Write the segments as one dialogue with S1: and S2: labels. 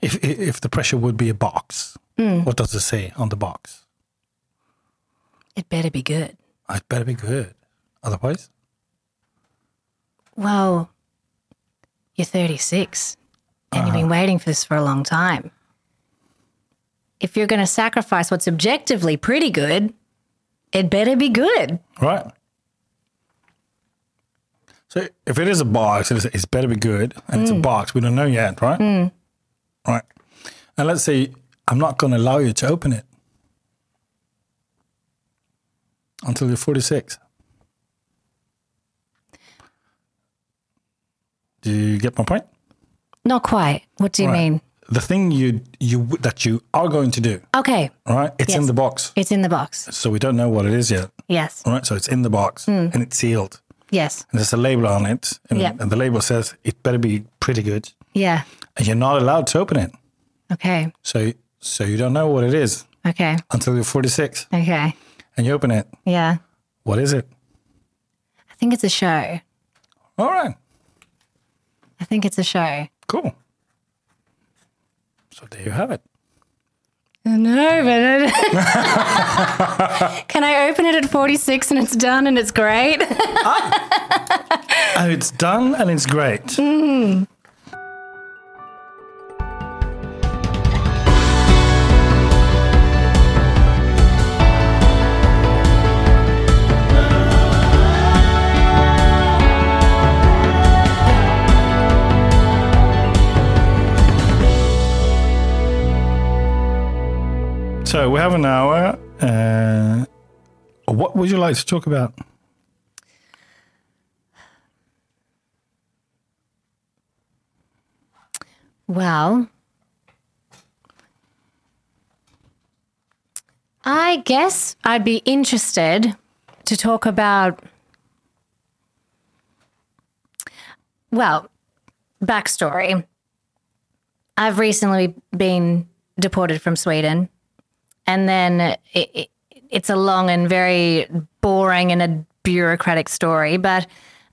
S1: if if the pressure would be a box, what does it say on the box?
S2: It better be good.
S1: It better be good. Otherwise,
S2: Well, you're 36 and you've been waiting for this for a long time. If you're going to sacrifice what's objectively pretty good, it better be good.
S1: right? So if it is a box, it is, it's better be good, and it's a box. We don't know yet, right? Right. And let's say I'm not going to allow you to open it until you're 46. Do you get my point?
S2: Not quite. What do you
S1: Right.
S2: mean?
S1: The thing you you that you are going to do,
S2: Okay,
S1: all right? It's in
S2: Yes.
S1: the box,
S2: it's in the box.
S1: so we don't know what it is yet.
S2: Yes.
S1: All right, so it's in the box and it's sealed.
S2: Yes.
S1: And there's a label on it, and,
S2: Hmm. Yeah.
S1: and the label says it better be pretty good,
S2: Yeah.
S1: and you're not allowed to open it.
S2: Okay.
S1: So so you don't know what it is
S2: Okay.
S1: until you're 46
S2: Okay.
S1: and you open it.
S2: Yeah.
S1: What is it?
S2: I think it's a show. I
S1: All right,
S2: think it's a show.
S1: cool. So there you have it.
S2: No, but it- can I open it at 46 and it's done and it's great?
S1: Oh, it's done and it's great. So we have an hour. Uh, what would you like to talk about?
S2: Well, I guess I'd be interested to talk about. Well, backstory. I've recently been deported from Sweden, and then it, it, it's a long and very boring and a bureaucratic story. But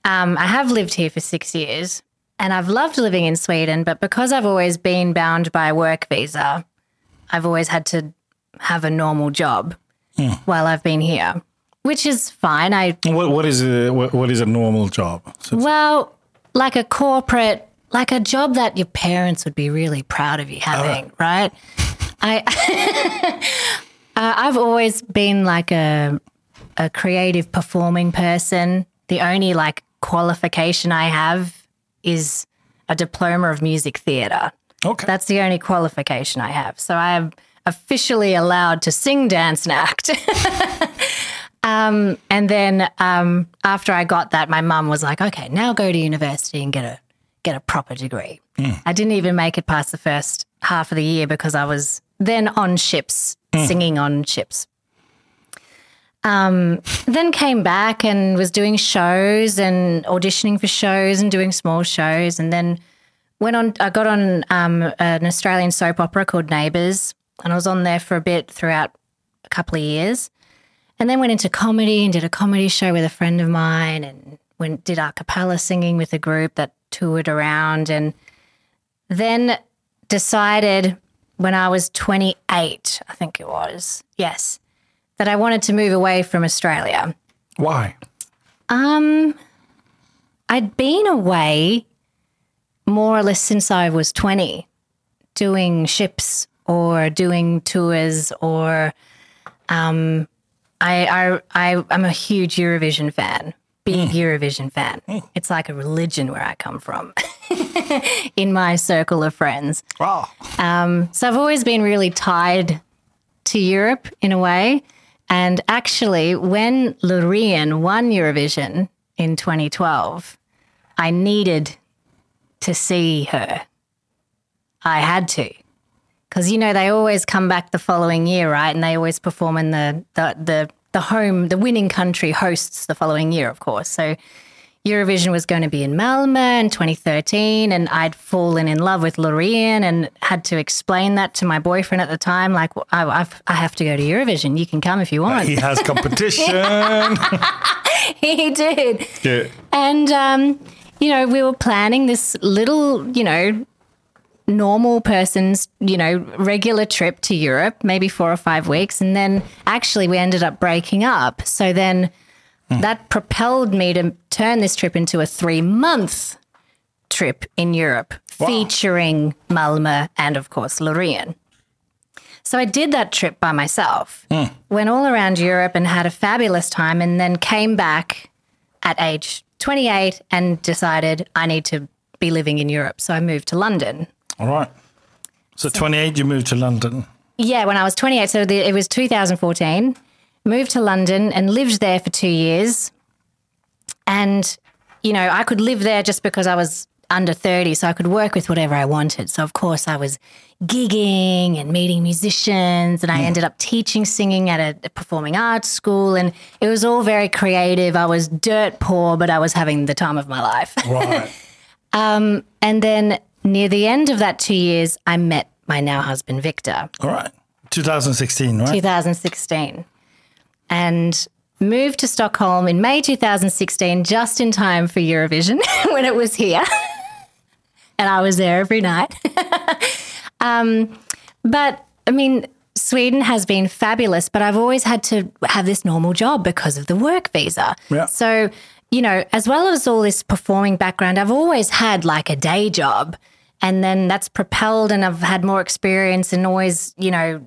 S2: um, I have lived here for six years, and I've loved living in Sweden. But because I've always been bound by a work visa, I've always had to have a normal job while I've been here, which is fine. I
S1: What what is a what, what is a normal job? So it's-
S2: well, like a corporate, like a job that your parents would be really proud of you having, right? I, uh, I've always been like a a creative performing person. The only like qualification I have is a diploma of music theatre.
S1: okay.
S2: That's the only qualification I have. So I am officially allowed to sing, dance, and act. um, and then um, after I got that, my mum was like, "Okay, now go to university and get a get a proper degree." I didn't even make it past the first half of the year because I was then on ships singing on ships. Um, then came back and was doing shows and auditioning for shows and doing small shows, and then went on. I got on um, an Australian soap opera called Neighbours, and I was on there for a bit throughout a couple of years, and then went into comedy and did a comedy show with a friend of mine, and went did a cappella singing with a group that toured around, and then decided when I was 28, I think it was, yes, that I wanted to move away from Australia.
S1: Why?
S2: Um, I'd been away more or less since I was 20, doing ships or doing tours or um, I, I, I, I'm a huge Eurovision fan, big Eurovision fan. It's like a religion where I come from in my circle of friends.
S1: Wow.
S2: So I've always been really tied to Europe in a way. And actually, when Loreen won Eurovision in 2012, I needed to see her. I had to. Because, you know, they always come back the following year, right? And they always perform in the, the, the, the home, the winning country hosts the following year, of course. So Eurovision was going to be in Malmö in 2013, and I'd fallen in love with Loreen and had to explain that to my boyfriend at the time. Like, "Well, I, I've, I have to go to Eurovision. You can come if you want.
S1: He has competition.
S2: he did.
S1: yeah.
S2: And, um, you know, we were planning this little, you know, normal person's, you know, regular trip to Europe, maybe four or five weeks. And then actually, we ended up breaking up. So then that propelled me to turn this trip into a three month trip in Europe, featuring Malmö and, of course, Lorien. So I did that trip by myself, went all around Europe and had a fabulous time, and then came back at age 28 and decided I need to be living in Europe. So I moved to London.
S1: All right. So, 28, you moved to London.
S2: Yeah, when I was 28. So the, it was 2014. Moved to London and lived there for two years. And, you know, I could live there just because I was under 30. So I could work with whatever I wanted. So, of course, I was gigging and meeting musicians. And I ended up teaching singing at a, a performing arts school. And it was all very creative. I was dirt poor, but I was having the time of my life.
S1: Right.
S2: And then near the end of that two years, I met my now husband, Victor.
S1: All right. 2016, right?
S2: 2016 and moved to Stockholm in May 2016 just in time for Eurovision when it was here. and I was there every night. um, but I mean, Sweden has been fabulous, but I've always had to have this normal job because of the work visa.
S1: Yeah.
S2: So, you know, as well as all this performing background, I've always had like a day job. And then that's propelled, and I've had more experience and always, you know,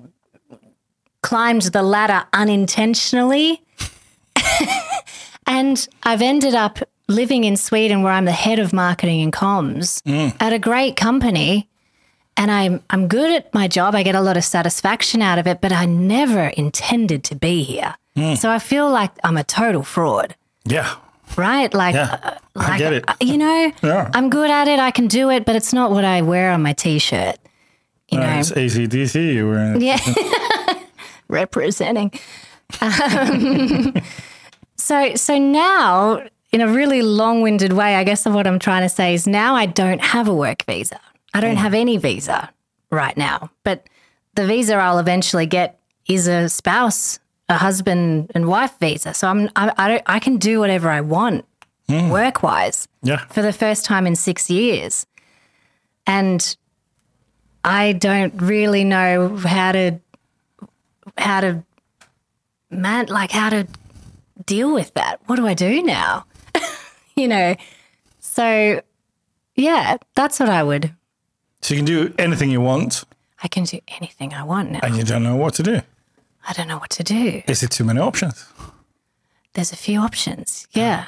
S2: climbed the ladder unintentionally. and I've ended up living in Sweden where I'm the head of marketing and comms
S1: Mm.
S2: at a great company. And I'm I'm good at my job. I get a lot of satisfaction out of it, but I never intended to be here.
S1: Mm.
S2: So I feel like I'm a total fraud,
S1: Yeah.
S2: right? Like
S1: Yeah. I
S2: like,
S1: get it.
S2: uh, You know,
S1: Yeah.
S2: I'm good at it. I can do it, but it's not what I wear on my t-shirt. You know,
S1: Uh, it's ACDC. You were in.
S2: yeah. Representing. Um, so so now, in a really long-winded way, I guess what I'm trying to say is now I don't have a work visa. I don't have any visa right now. But the visa I'll eventually get is a spouse, a husband and wife visa. So I'm I, I don't I can do whatever I want work-wise
S1: Yeah.
S2: for the first time in six years. And I don't really know how to how to man like how to deal with that. What do I do now? you know. So yeah, that's what I would
S1: So you can do anything you want
S2: I can do anything I want now.
S1: and you don't know what to do.
S2: I don't know what to do.
S1: Is it too many options?
S2: There's a few options. Yeah.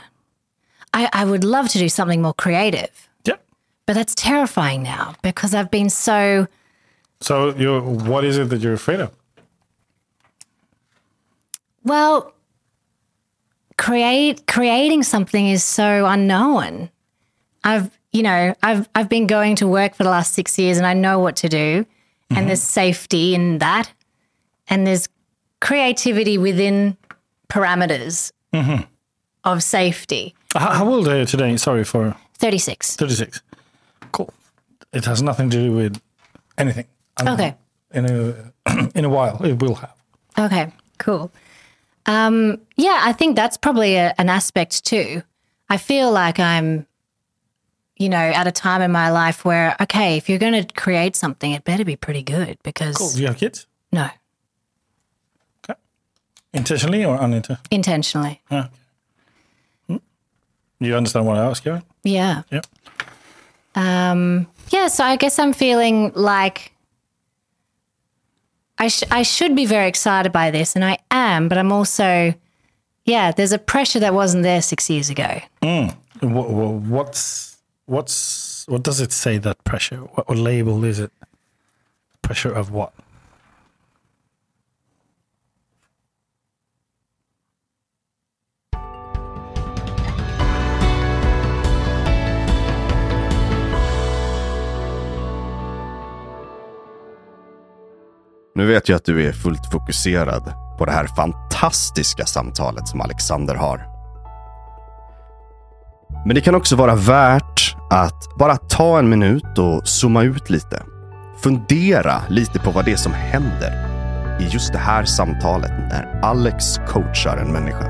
S2: I, I would love to do something more creative,
S1: Yeah.
S2: but that's terrifying now because I've been so
S1: So you're, what is it that you're afraid of?
S2: Well, create creating something is so unknown. I've you know I've I've been going to work for the last six years, and I know what to do, and there's safety in that, and there's creativity within parameters of safety.
S1: How, how old are you today? Sorry for
S2: Thirty six.
S1: 36. Cool. It has nothing to do with anything. And
S2: Okay.
S1: In a, in a while, it will have.
S2: Okay, cool. Um, yeah, I think that's probably a, an aspect too. I feel like I'm, you know, at a time in my life where, okay, if you're going to create something, it better be pretty good because
S1: Cool. Do Oh, you have kids?
S2: no,
S1: Okay. Intentionally or unintentionally?
S2: intentionally.
S1: You understand what I ask you? right?
S2: Yeah.
S1: Yeah.
S2: Um, yeah, so I guess I'm feeling like I, sh- I should be very excited by this, and I am, but I'm also, yeah, there's a pressure that wasn't there six years ago.
S1: What, what's what's what does it say that pressure? What, what label is it? Pressure of what?
S3: Nu vet jag att du är fullt fokuserad på det här fantastiska samtalet som Alexander har. Men det kan också vara värt att bara ta en minut och zooma ut lite. Fundera lite på vad det är som händer i just det här samtalet när Alex coachar en människa.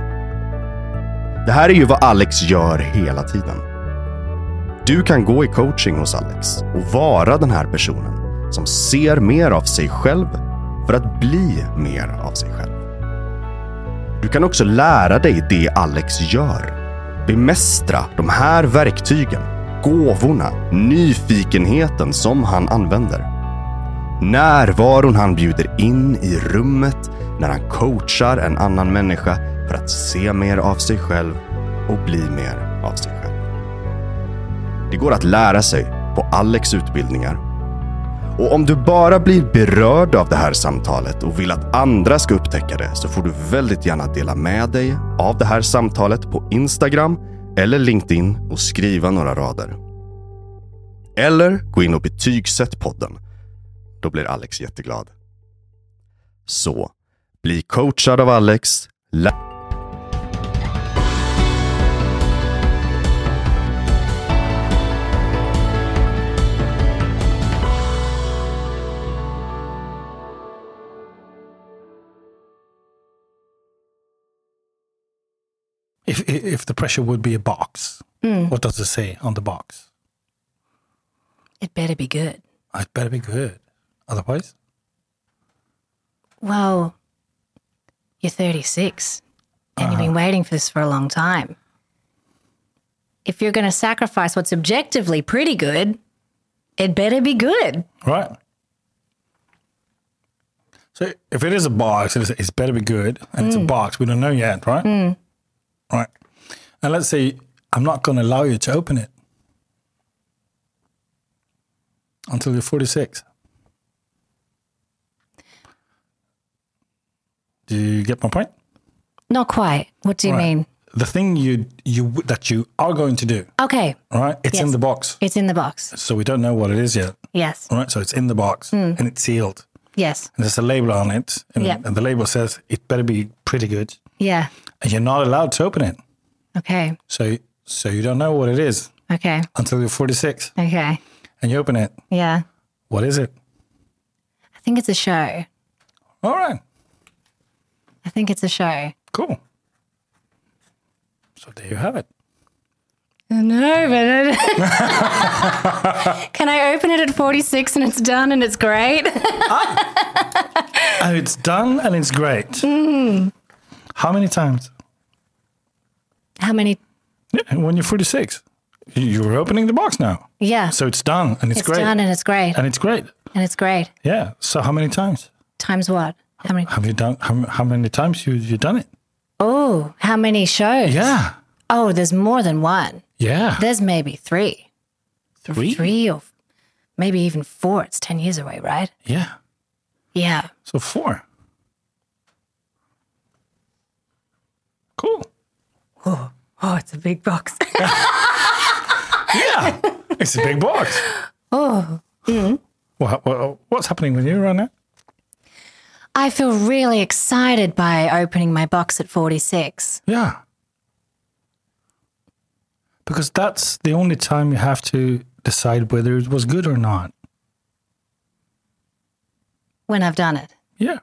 S3: Det här är ju vad Alex gör hela tiden. Du kan gå i coaching hos Alex och vara den här personen som ser mer av sig själv för att bli mer av sig själv. Du kan också lära dig det Alex gör. Bemästra de här verktygen, gåvorna, nyfikenheten som han använder. Närvaron han bjuder in i rummet när han coachar en annan människa för att se mer av sig själv och bli mer av sig själv. Det går att lära sig på Alex utbildningar. Och om du bara blir berörd av det här samtalet och vill att andra ska upptäcka det så får du väldigt gärna dela med dig av det här samtalet på Instagram eller LinkedIn och skriva några rader. Eller gå in och betygsätt podden. Då blir Alex jätteglad. Så, bli coachad av Alex. Lä-
S1: If, if the pressure would be a box, what does it say on the box?
S2: It better be good.
S1: It better be good. Otherwise,
S2: Well, you're 36 and you've been waiting for this for a long time. If you're going to sacrifice what's objectively pretty good, it better be good.
S1: right? So if it is a box, it's, it's better be good, and it's a box. We don't know yet, right? Right. And let's say I'm not going to allow you to open it until you're 46. Do you get my point?
S2: Not quite. What do you
S1: Right.
S2: mean?
S1: The thing you you that you are going to do,
S2: Okay,
S1: all right? It's in
S2: Yes.
S1: the box,
S2: it's in the box.
S1: so we don't know what it is yet.
S2: Yes,
S1: All right, so it's in the box and it's sealed.
S2: yes,
S1: And there's a label on it, and,
S2: Yeah.
S1: and the label says it better be pretty good,
S2: yeah.
S1: and you're not allowed to open it.
S2: Okay,
S1: So so you don't know what it is
S2: okay,
S1: until you're 46
S2: okay.
S1: and you open it.
S2: Yeah,
S1: What is it?
S2: I think it's a show. I
S1: All right,
S2: think it's a show.
S1: cool. So there you have it.
S2: No, but it- can I open it at 46 and it's done and it's great?
S1: Oh, it's done and it's great. How many times?
S2: How many?
S1: Yeah, when you're 46, you- you're opening the box now.
S2: Yeah,
S1: So it's done and it's,
S2: it's
S1: great.
S2: done and it's great.
S1: and it's great.
S2: And it's great.
S1: Yeah. So how many times
S2: Times what? How many?
S1: have you done? How, how many times you you done it?
S2: Oh, how many shows?
S1: Yeah.
S2: Oh, there's more than one.
S1: Yeah.
S2: There's maybe three,
S1: Three.
S2: three or maybe even four. It's 10 years away, right?
S1: Yeah.
S2: Yeah.
S1: So four. Cool.
S2: Oh, it's a big box.
S1: Yeah. it's a big box. Hmm.
S2: oh,
S1: What, what, what's happening with you right now?
S2: I feel really excited by opening my box at 46.
S1: Yeah. Because that's the only time you have to decide whether it was good or not.
S2: When I've done it,
S1: Yeah.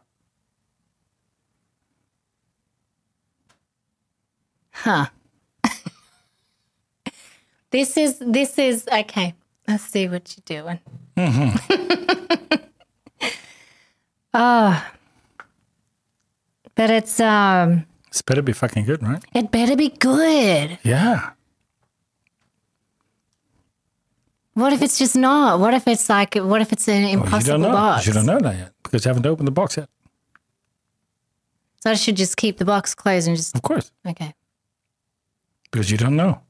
S2: this is this is okay. Let's see what you're doing.
S1: Mm-hmm.
S2: oh, Ah. but it's um,
S1: It's better be fucking good, right?
S2: it better be good.
S1: Yeah.
S2: What if it's just not? What if it's like? What if it's an
S1: Well, you
S2: impossible
S1: don't know.
S2: box?
S1: You don't know that yet because you haven't opened the box yet.
S2: So I should just keep the box closed and just
S1: Of course,
S2: okay.
S1: because you don't know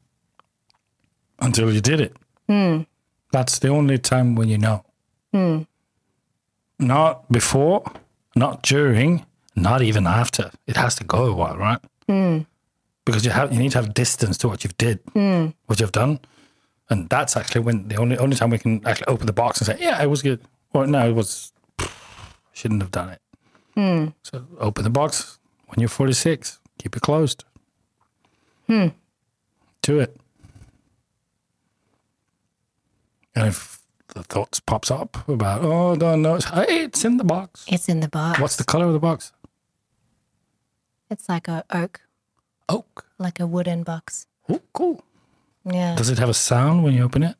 S1: until you did it. That's the only time when you know. Not before, not during, not even after. It has to go a while, right? Because you have you need to have distance to what you've did, what you've done, and that's actually when the only only time we can actually open the box and say, yeah, it was good, or no, it was shouldn't have done it. So open the box when you're 46. Keep it closed. Do it. And if the thoughts pops up about, oh, don't know, it's, hey, it's in the box.
S2: It's in the box.
S1: What's the color of the box?
S2: It's like a oak,
S1: Oak.
S2: like a wooden box.
S1: Oh, cool.
S2: Yeah.
S1: Does it have a sound when you open it?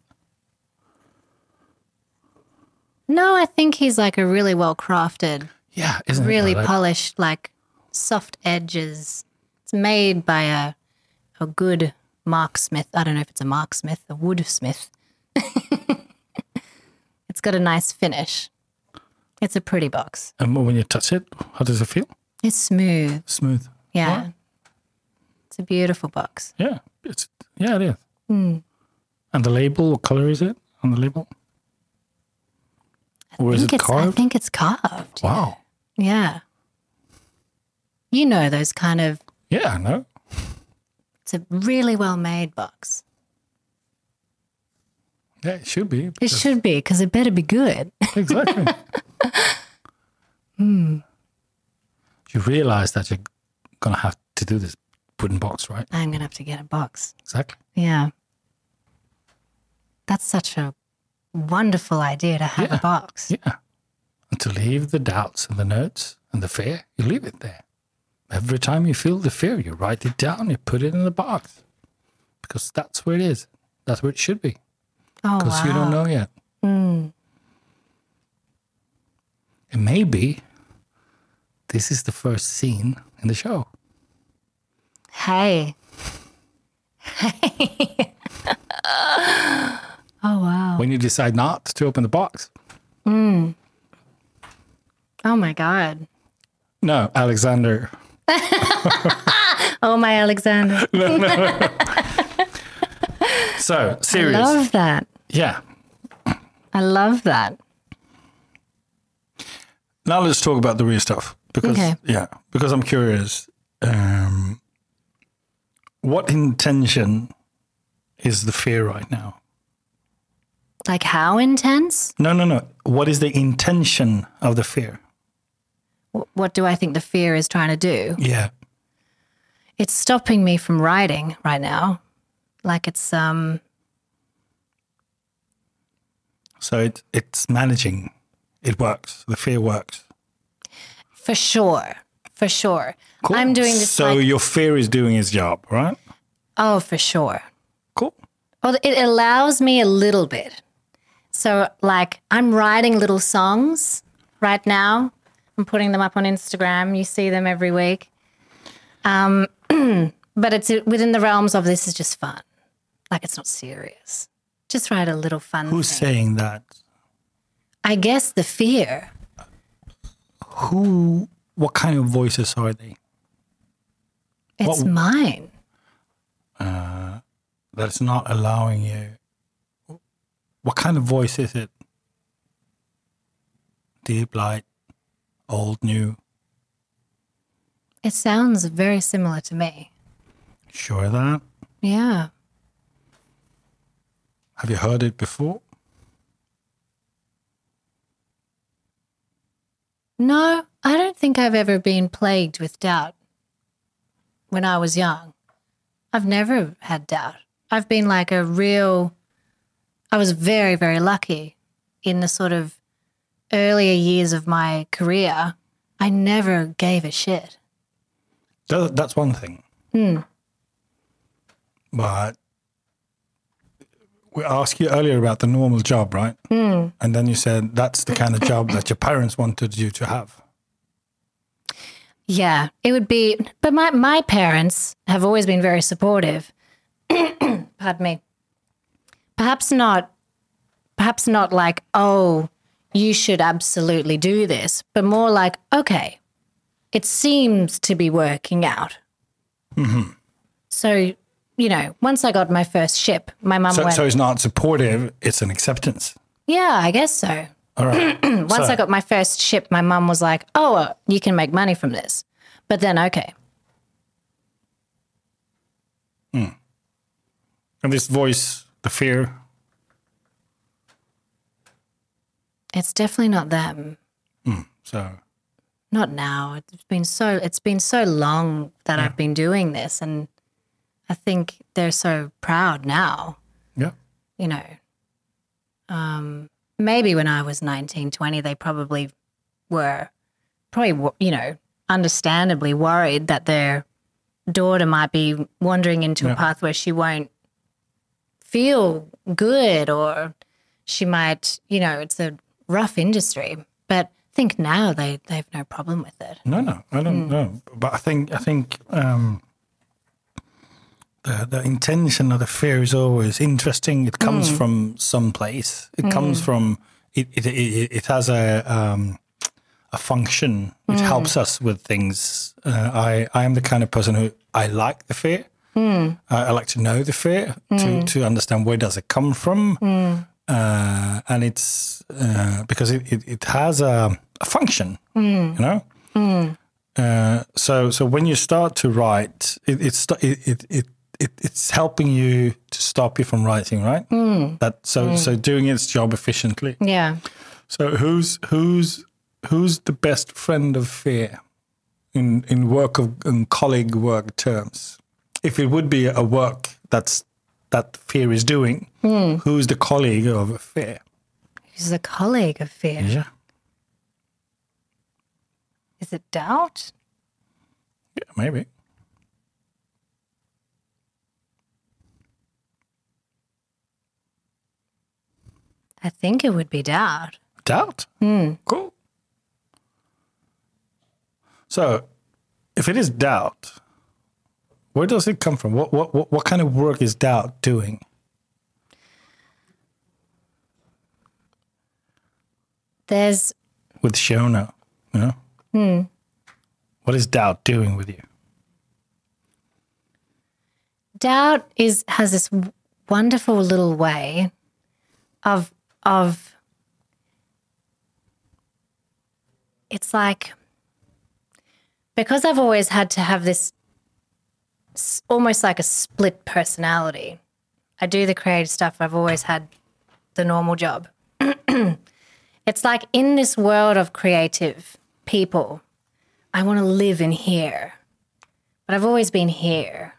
S2: No, I think he's like a really well crafted,
S1: Yeah, isn't
S2: really
S1: it? though? Like,
S2: polished, like soft edges. It's made by a a good marksmith. I don't know if it's a marksmith, a woodsmith. it's got a nice finish. It's a pretty box.
S1: and when you touch it, how does it feel?
S2: It's smooth.
S1: Smooth.
S2: Yeah. It's a beautiful box.
S1: Yeah, it's yeah, it is.
S2: Hmm.
S1: And the label, what color is it on the label? Or
S2: I
S1: is
S2: think
S1: it
S2: it's, I
S1: carved?
S2: think it's carved.
S1: Wow.
S2: Yeah. You know those kind of
S1: Yeah, I know.
S2: it's a really well made box.
S1: Yeah, it should be.
S2: It should be because it better be good.
S1: Exactly.
S2: Hmm.
S1: You realize that you're gonna have to do this wooden box, right?
S2: I'm gonna have to get a box.
S1: Exactly.
S2: Yeah, that's such a wonderful idea to have
S1: Yeah.
S2: a box.
S1: Yeah. And to leave the doubts and the notes and the fear, you leave it there. Every time you feel the fear, you write it down, you put it in the box. Because that's where it is. That's where it should be.
S2: Oh
S1: Because
S2: wow! Hmm.
S1: you don't know yet. And maybe this is the first scene in the show.
S2: Hey, hey! oh wow!
S1: When you decide not to open the box.
S2: Oh my god!
S1: No, Alexander.
S2: Oh my Alexander!
S1: So,
S2: I
S1: serious.
S2: love that.
S1: yeah.
S2: I love that.
S1: Now let's talk about the real stuff because
S2: Okay.
S1: yeah, because I'm curious. Um, what intention is the fear right now?
S2: Like how intense?
S1: No, no, no. What is the intention of the fear?
S2: Wh- What do I think the fear is trying to do?
S1: Yeah.
S2: it's stopping me from writing right now. Like it's um
S1: So it it's managing. It works. The fear works.
S2: for sure, for sure. I'm doing this.
S1: So
S2: like,
S1: your fear is doing its job, right?
S2: oh, for sure.
S1: Cool.
S2: Well, it allows me a little bit. So, like, I'm writing little songs right now. I'm putting them up on Instagram. You see them every week. Um, but it's within the realms of this is just fun. Like, it's not serious. Just write a little fun.
S1: Who's
S2: thing.
S1: saying that?
S2: I guess the fear.
S1: Who? What kind of voices are they?
S2: It's
S1: What-
S2: mine.
S1: That's not allowing you. What kind of voice is it? Deep, light, old, new.
S2: It sounds very similar to me.
S1: Sure of that.
S2: Yeah.
S1: Have you heard it before?
S2: No, I don't think I've ever been plagued with doubt when I was young. I've never had doubt. I've been like a real, I was very, very lucky in the sort of earlier years of my career. I never gave a shit.
S1: That, that's one thing. But we asked you earlier about the normal job, right? And then you said that's the kind of job that your parents wanted you to have.
S2: Yeah, it would be. But my, my parents have always been very supportive. Pardon me. Perhaps not, perhaps not like, oh, you should absolutely do this, but more like, okay, it seems to be working out.
S1: Mm-hmm.
S2: So, you know, once I got my first ship, my mum
S1: So,
S2: went,
S1: so it's not supportive, it's an acceptance.
S2: yeah, I guess so. Mm,
S1: All right.
S2: Once I got my first ship, my mum was like, oh, uh, you can make money from this. But then, okay,
S1: and this voice, the fear,
S2: it's definitely not them.
S1: so
S2: not now it's been so it's been so long that i've been doing this and i think they're so proud now
S1: yeah.
S2: you know um maybe when i was 19 20 they probably were probably wo- you know understandably worried that their daughter might be wandering into a path where she won't feel good or she might, you know, it's a rough industry. But I think now they, they have no problem with it.
S1: No, no, I don't know. But I think I think um, the the intention of the fear is always interesting. It comes from some place. It comes from it. It, it, it has a um, a function. It helps us with things. Uh, I I am the kind of person who I like the fear. I, I like to know the fear to to understand where does it come from. Uh, and it's uh, because it, it, it has a, a function, you know. Uh, so so when you start to write, it, it's sto- it, it, it, it it's helping you to stop you from writing, right? That so so doing its job efficiently.
S2: Yeah.
S1: So who's who's who's the best friend of fear in in work of in colleague work terms? If it would be a work that's that fear is doing, who's the colleague of fear?
S2: Who's a colleague of fear?
S1: Yeah.
S2: Is it doubt?
S1: Yeah, maybe.
S2: I think it would be doubt.
S1: Doubt. Cool. So, if it is doubt, where does it come from? What what what, what kind of work is doubt doing?
S2: There's
S1: with Shona, you know? What is doubt doing with you?
S2: doubt is has this w- wonderful little way of of it's like because I've always had to have this s- almost like a split personality. I do the creative stuff. I've always had the normal job. it's like in this world of creative people, I want to live in here. But I've always been here.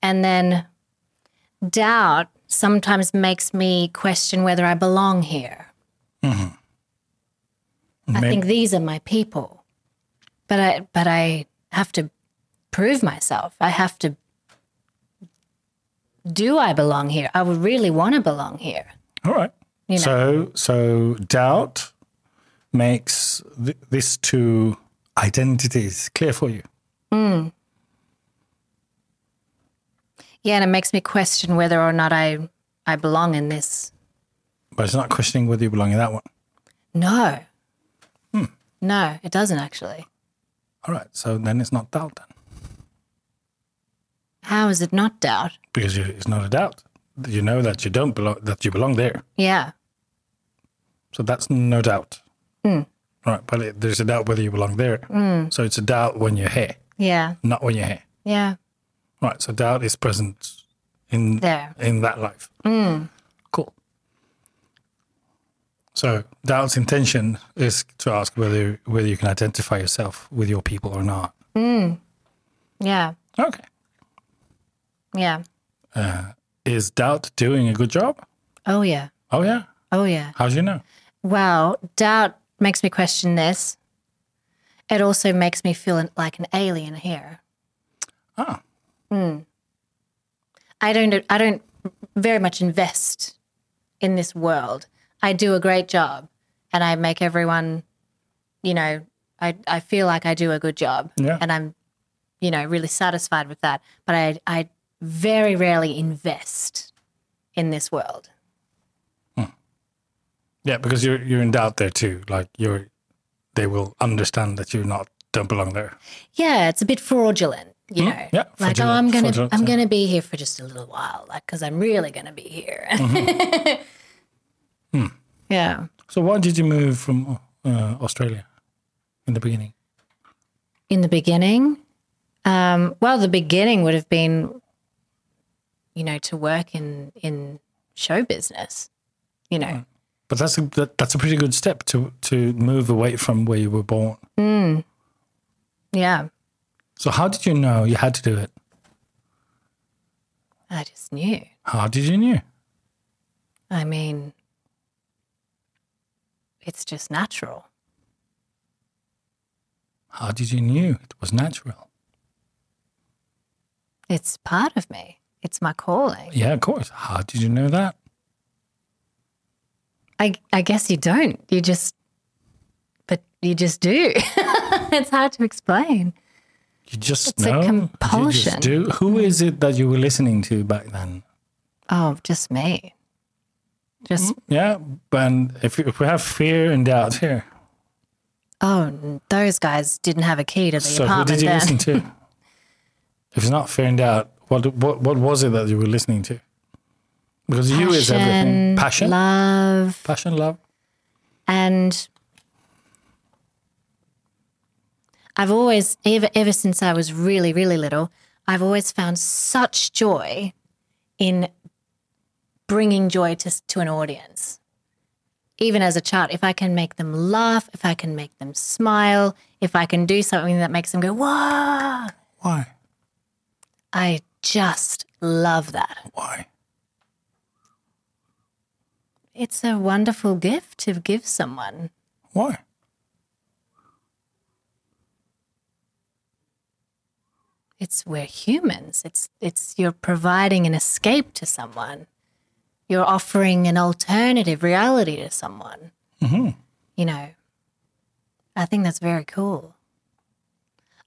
S2: And then doubt sometimes makes me question whether I belong here. I
S1: May-
S2: think these are my people. But I but I have to prove myself. I have to do I belong here? I would really want to belong here.
S1: All right.
S2: know.
S1: So so doubt makes th- these two identities clear for you.
S2: Yeah, and it makes me question whether or not I I belong in this.
S1: But it's not questioning whether you belong in that one.
S2: No. No, it doesn't actually.
S1: All right. So then it's not doubt then.
S2: How is it not doubt?
S1: Because you, it's not a doubt. You know that you don't belong that you belong there.
S2: Yeah.
S1: So that's no doubt. Right, but it, there's a doubt whether you belong there. So it's a doubt when you're here,
S2: Yeah.
S1: not when you're here.
S2: Yeah.
S1: Right, so doubt is present in
S2: There.
S1: in that life. Cool. So doubt's intention is to ask whether whether you can identify yourself with your people or not.
S2: Yeah.
S1: Okay.
S2: Yeah.
S1: Is doubt doing a good job?
S2: Oh yeah.
S1: Oh yeah.
S2: Oh yeah.
S1: How do you know?
S2: Well, doubt makes me question this. It also makes me feel an- like an alien here.
S1: Ah.
S2: I don't I don't very much invest in this world. I do a great job and I make everyone, you know, I, I feel like I do a good job.
S1: Yeah.
S2: And I'm, you know, really satisfied with that. But I I very rarely invest in this world.
S1: Yeah, because you're you're in doubt there too. Like you're they will understand that you're not don't belong there.
S2: yeah, it's a bit fraudulent, you know.
S1: Mm-hmm. yeah,
S2: like, oh,
S1: fraudulent-
S2: I'm gonna,
S1: fraudulent,
S2: I'm
S1: yeah.
S2: gonna be here for just a little while, like, because I'm really gonna be here.
S1: Mm-hmm. Hmm.
S2: Yeah,
S1: So why did you move from uh, Australia in the beginning?
S2: in the beginning, um, well, the beginning would have been, you know, to work in in show business, you know.
S1: But that's a that, that's a pretty good step to to move away from where you were born.
S2: Mm. Yeah,
S1: So how did you know you had to do it?
S2: I just knew.
S1: How did you know?
S2: I mean, it's just natural.
S1: How did you knew it was natural?
S2: It's part of me. It's my calling.
S1: Yeah, of course. How did you know that?
S2: I, I guess you don't. You just, but you just do. it's hard to explain.
S1: You just
S2: It's a
S1: know. You
S2: compulsion. Mm.
S1: just do. Who is it that you were listening to back then?
S2: Oh, just me. Just,
S1: Yeah, and if, if we have fear and doubt here,
S2: oh, n- those guys didn't have a key to the
S1: so who
S2: apartment
S1: did you
S2: then.
S1: listen to? if it's not fear and doubt, what what what was it that you were listening to? Because you is everything. Passion,
S2: love,
S1: passion, love.
S2: and I've always ever ever since I was really really little, I've always found such joy in bringing joy to to an audience. Even as a child, if I can make them laugh, if I can make them smile, if I can do something that makes them go "Wow!"
S1: Why?
S2: I just love that.
S1: Why?
S2: It's a wonderful gift to give someone.
S1: Why?
S2: it's we're humans it's it's you're providing an escape to someone you're offering an alternative reality to someone you know i think that's very cool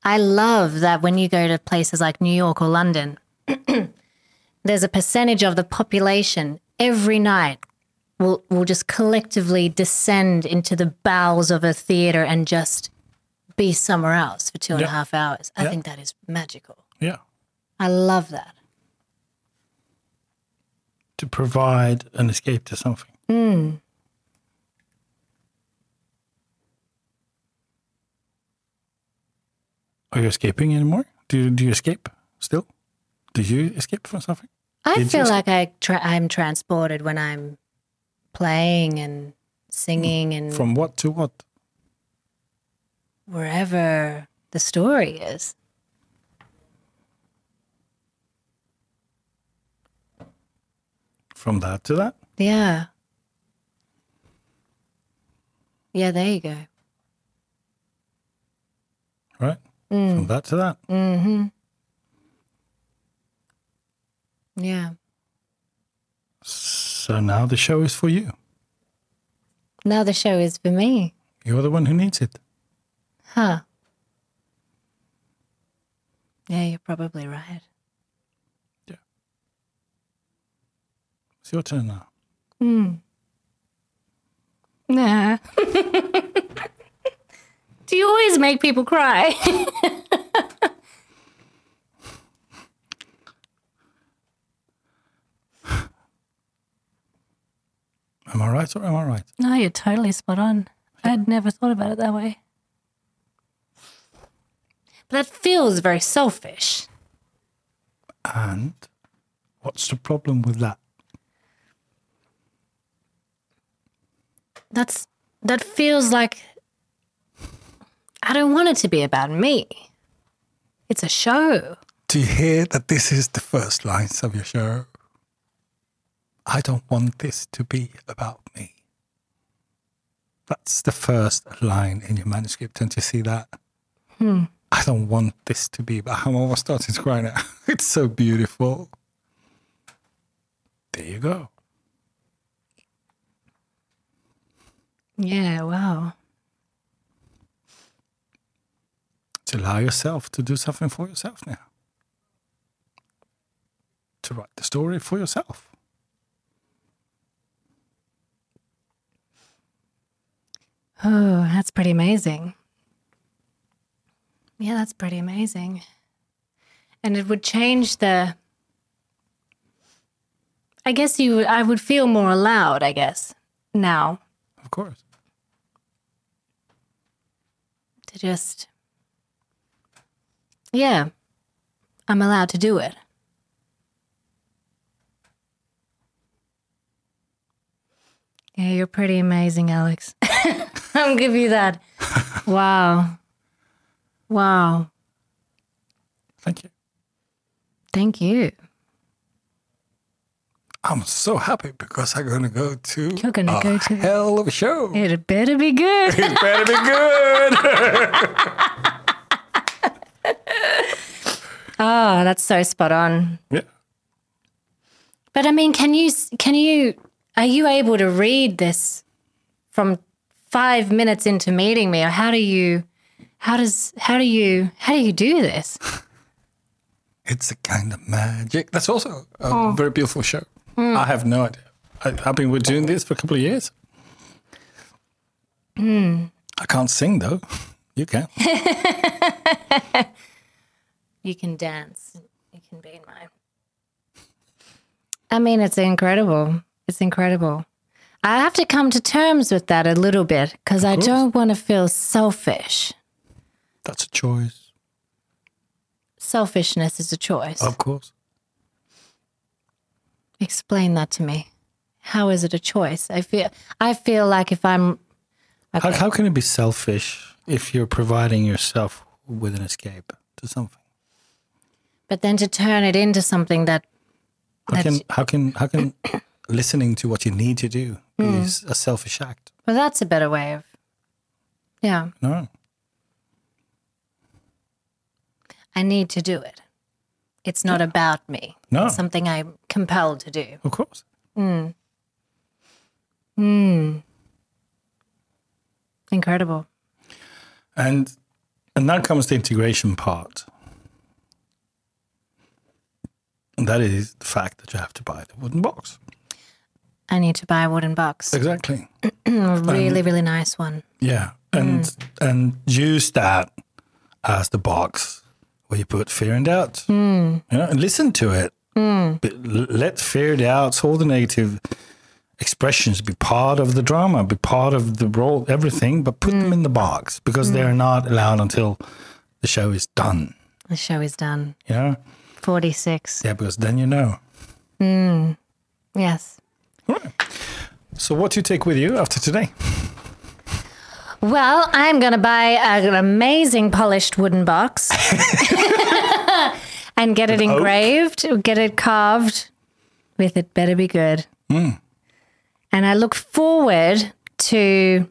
S2: i love that when you go to places like new york or london there's a percentage of the population every night will will just collectively descend into the bowels of a theater and just be somewhere else for two and a
S1: Yeah.
S2: half hours i think that is magical
S1: Yeah,
S2: I love that.
S1: to provide an escape to something.
S2: Hmm.
S1: Are you escaping anymore? Do you, do you escape still? Do you escape from something?
S2: I
S1: Did
S2: feel
S1: you-
S2: like I tra- I'm transported when I'm playing and singing and
S1: From what to what?
S2: wherever the story is.
S1: From that to that?
S2: Yeah. Yeah, there you go.
S1: right?
S2: Hmm.
S1: From that to that.
S2: Mm-hmm. Yeah.
S1: So now the show is for you.
S2: Now the show is for me.
S1: You're the one who needs it.
S2: Huh. Yeah, you're probably right.
S1: It's your turn now.
S2: Nah. Do you always make people cry?
S1: Am I right or am I right?
S2: No, you're totally spot on. I'd never thought about it that way. But that feels very selfish.
S1: And what's the problem with that?
S2: That's that feels like I don't want it to be about me. It's a show.
S1: Do you hear that this is the first lines of your show? I don't want this to be about me. That's the first line in your manuscript. Don't you see that? I don't want this to be, but I'm almost starting to cry now. It's so beautiful. There you go.
S2: Yeah, wow.
S1: to allow yourself to do something for yourself now. To write the story for yourself.
S2: Oh, that's pretty amazing. Yeah, that's pretty amazing. And it would change the I guess you I would feel more allowed, I guess, now.
S1: Of course.
S2: to just yeah i'm allowed to do it yeah you're pretty amazing alex i'll give you that wow wow
S1: Thank you.
S2: thank you
S1: I'm so happy because I'm going to go to
S2: You're gonna
S1: a
S2: go to-
S1: hell of a show.
S2: it better be good
S1: It better be good.
S2: oh that's so spot on
S1: yeah.
S2: But I mean, can you can you are you able to read this from five minutes into meeting me, or how do you how does how do you how do you do this?
S1: It's a kind of magic. That's also a very beautiful show. I have no idea. I, I've been doing this for a couple of years. I can't sing though. You can.
S2: You can dance. You can be in my. I mean, it's incredible. It's incredible. I have to come to terms with that a little bit because I
S1: course.
S2: don't want to feel selfish.
S1: That's a choice.
S2: Selfishness is a choice.
S1: Of course.
S2: Explain that to me. How is it a choice? I feel I feel like if I'm
S1: How, how can it be selfish if you're providing yourself with an escape to something?
S2: but then to turn it into something that
S1: How can
S2: That's-
S1: how can how can listening to what you need to do is a selfish act?
S2: well that's a better way of Yeah.
S1: No.
S2: I need to do it. It's not about me.
S1: No.
S2: It's something I'm compelled to do.
S1: Of course.
S2: Incredible.
S1: And and now comes the integration part. And that is the fact that you have to buy the wooden box.
S2: I need to buy a wooden box.
S1: Exactly.
S2: A really, really nice one.
S1: Yeah. And and use that as the box where you put fear and doubt. You know, and listen to it. But l- let fear, doubts, all the negative expressions be part of the drama, be part of the role, everything, but put them in the box because they're not allowed until the show is done.
S2: The show is done.
S1: You know?
S2: 46.
S1: Yeah, because then you know.
S2: Yes.
S1: So, what do you take with you after today?
S2: Well, I'm going to buy an amazing polished wooden box and get it engraved, get it carved with it better be good. And I look forward to.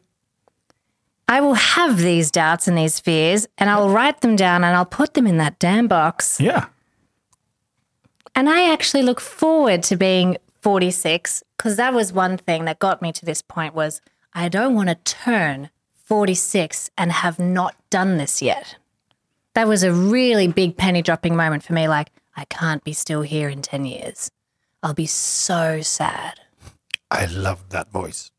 S2: I will have these doubts and these fears, and I'll write them down and I'll put them in that damn box.
S1: Yeah.
S2: And I actually look forward to being 46 because that was one thing that got me to this point was I don't want to turn 46 and have not done this yet. That was a really big penny dropping moment for me like I can't be still here in 10 years. I'll be so sad.
S1: I love that voice.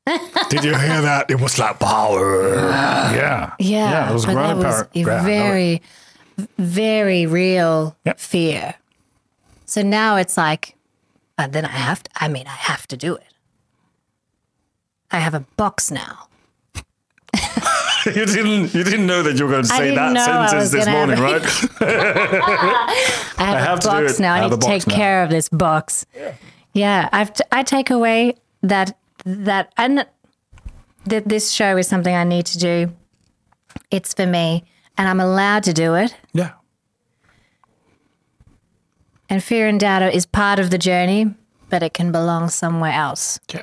S1: Did you hear that? It was like power. Yeah.
S2: Yeah,
S1: Yeah, it was
S2: but that
S1: grounded
S2: was
S1: power.
S2: a
S1: Yeah, I know
S2: very, very real
S1: Yep.
S2: fear. So now it's like, uh, then I have to. I mean, I have to do it. I have a box now.
S1: you didn't you didn't know that you were going to
S2: I
S1: say that
S2: didn't know I
S1: sentence
S2: was
S1: this
S2: gonna
S1: morning,
S2: have-
S1: right?
S2: I have,
S1: have
S2: a
S1: to do
S2: box
S1: it.
S2: now.
S1: I
S2: I,
S1: have a
S2: need to
S1: box
S2: take
S1: now.
S2: care of this box. Yeah, I've t- I take away that that and that this show is something I need to do. It's for me, and I'm allowed to do it.
S1: yeah.
S2: And fear and doubt is part of the journey, but it can belong somewhere else.
S1: Yeah.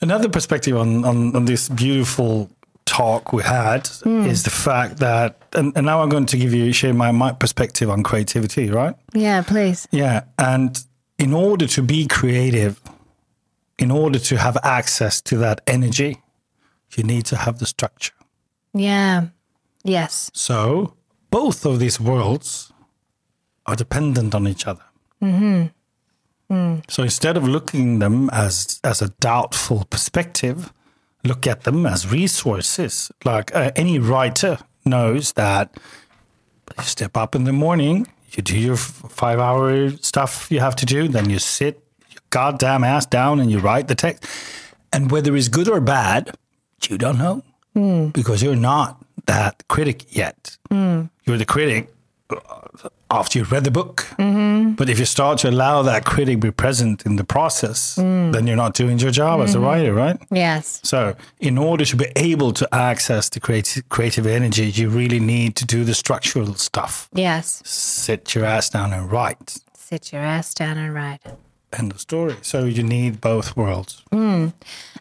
S1: Another perspective on, on, on this beautiful talk we had
S2: Hmm.
S1: is the fact that and, and now I'm going to give you share my, my perspective on creativity, right?
S2: Yeah, please.
S1: Yeah. And in order to be creative, in order to have access to that energy, you need to have the structure.
S2: Yeah. Yes.
S1: So both of these worlds are dependent on each other. So instead of looking them as as a doubtful perspective, look at them as resources. Like uh, any writer knows that you step up in the morning, you do your f- five hour stuff you have to do, then you sit your goddamn ass down and you write the text. And whether it's good or bad, you don't know because you're not that critic yet. You're the critic after you've read the book. But if you start to allow that critic be present in the process, then you're not doing your job as a writer, right?
S2: Yes.
S1: So, in order to be able to access the creative creative energy, you really need to do the structural stuff.
S2: Yes.
S1: Sit your ass down and write.
S2: Sit your ass down and write.
S1: End of story. So you need both worlds.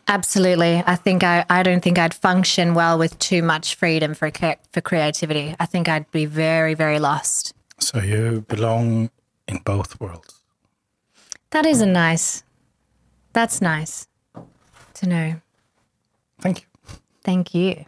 S2: Absolutely. I think I, I don't think I'd function well with too much freedom for cre- for creativity. I think I'd be very very lost.
S1: So you belong in both worlds.
S2: That is a nice. That's nice to know.
S1: Thank you.
S2: Thank you.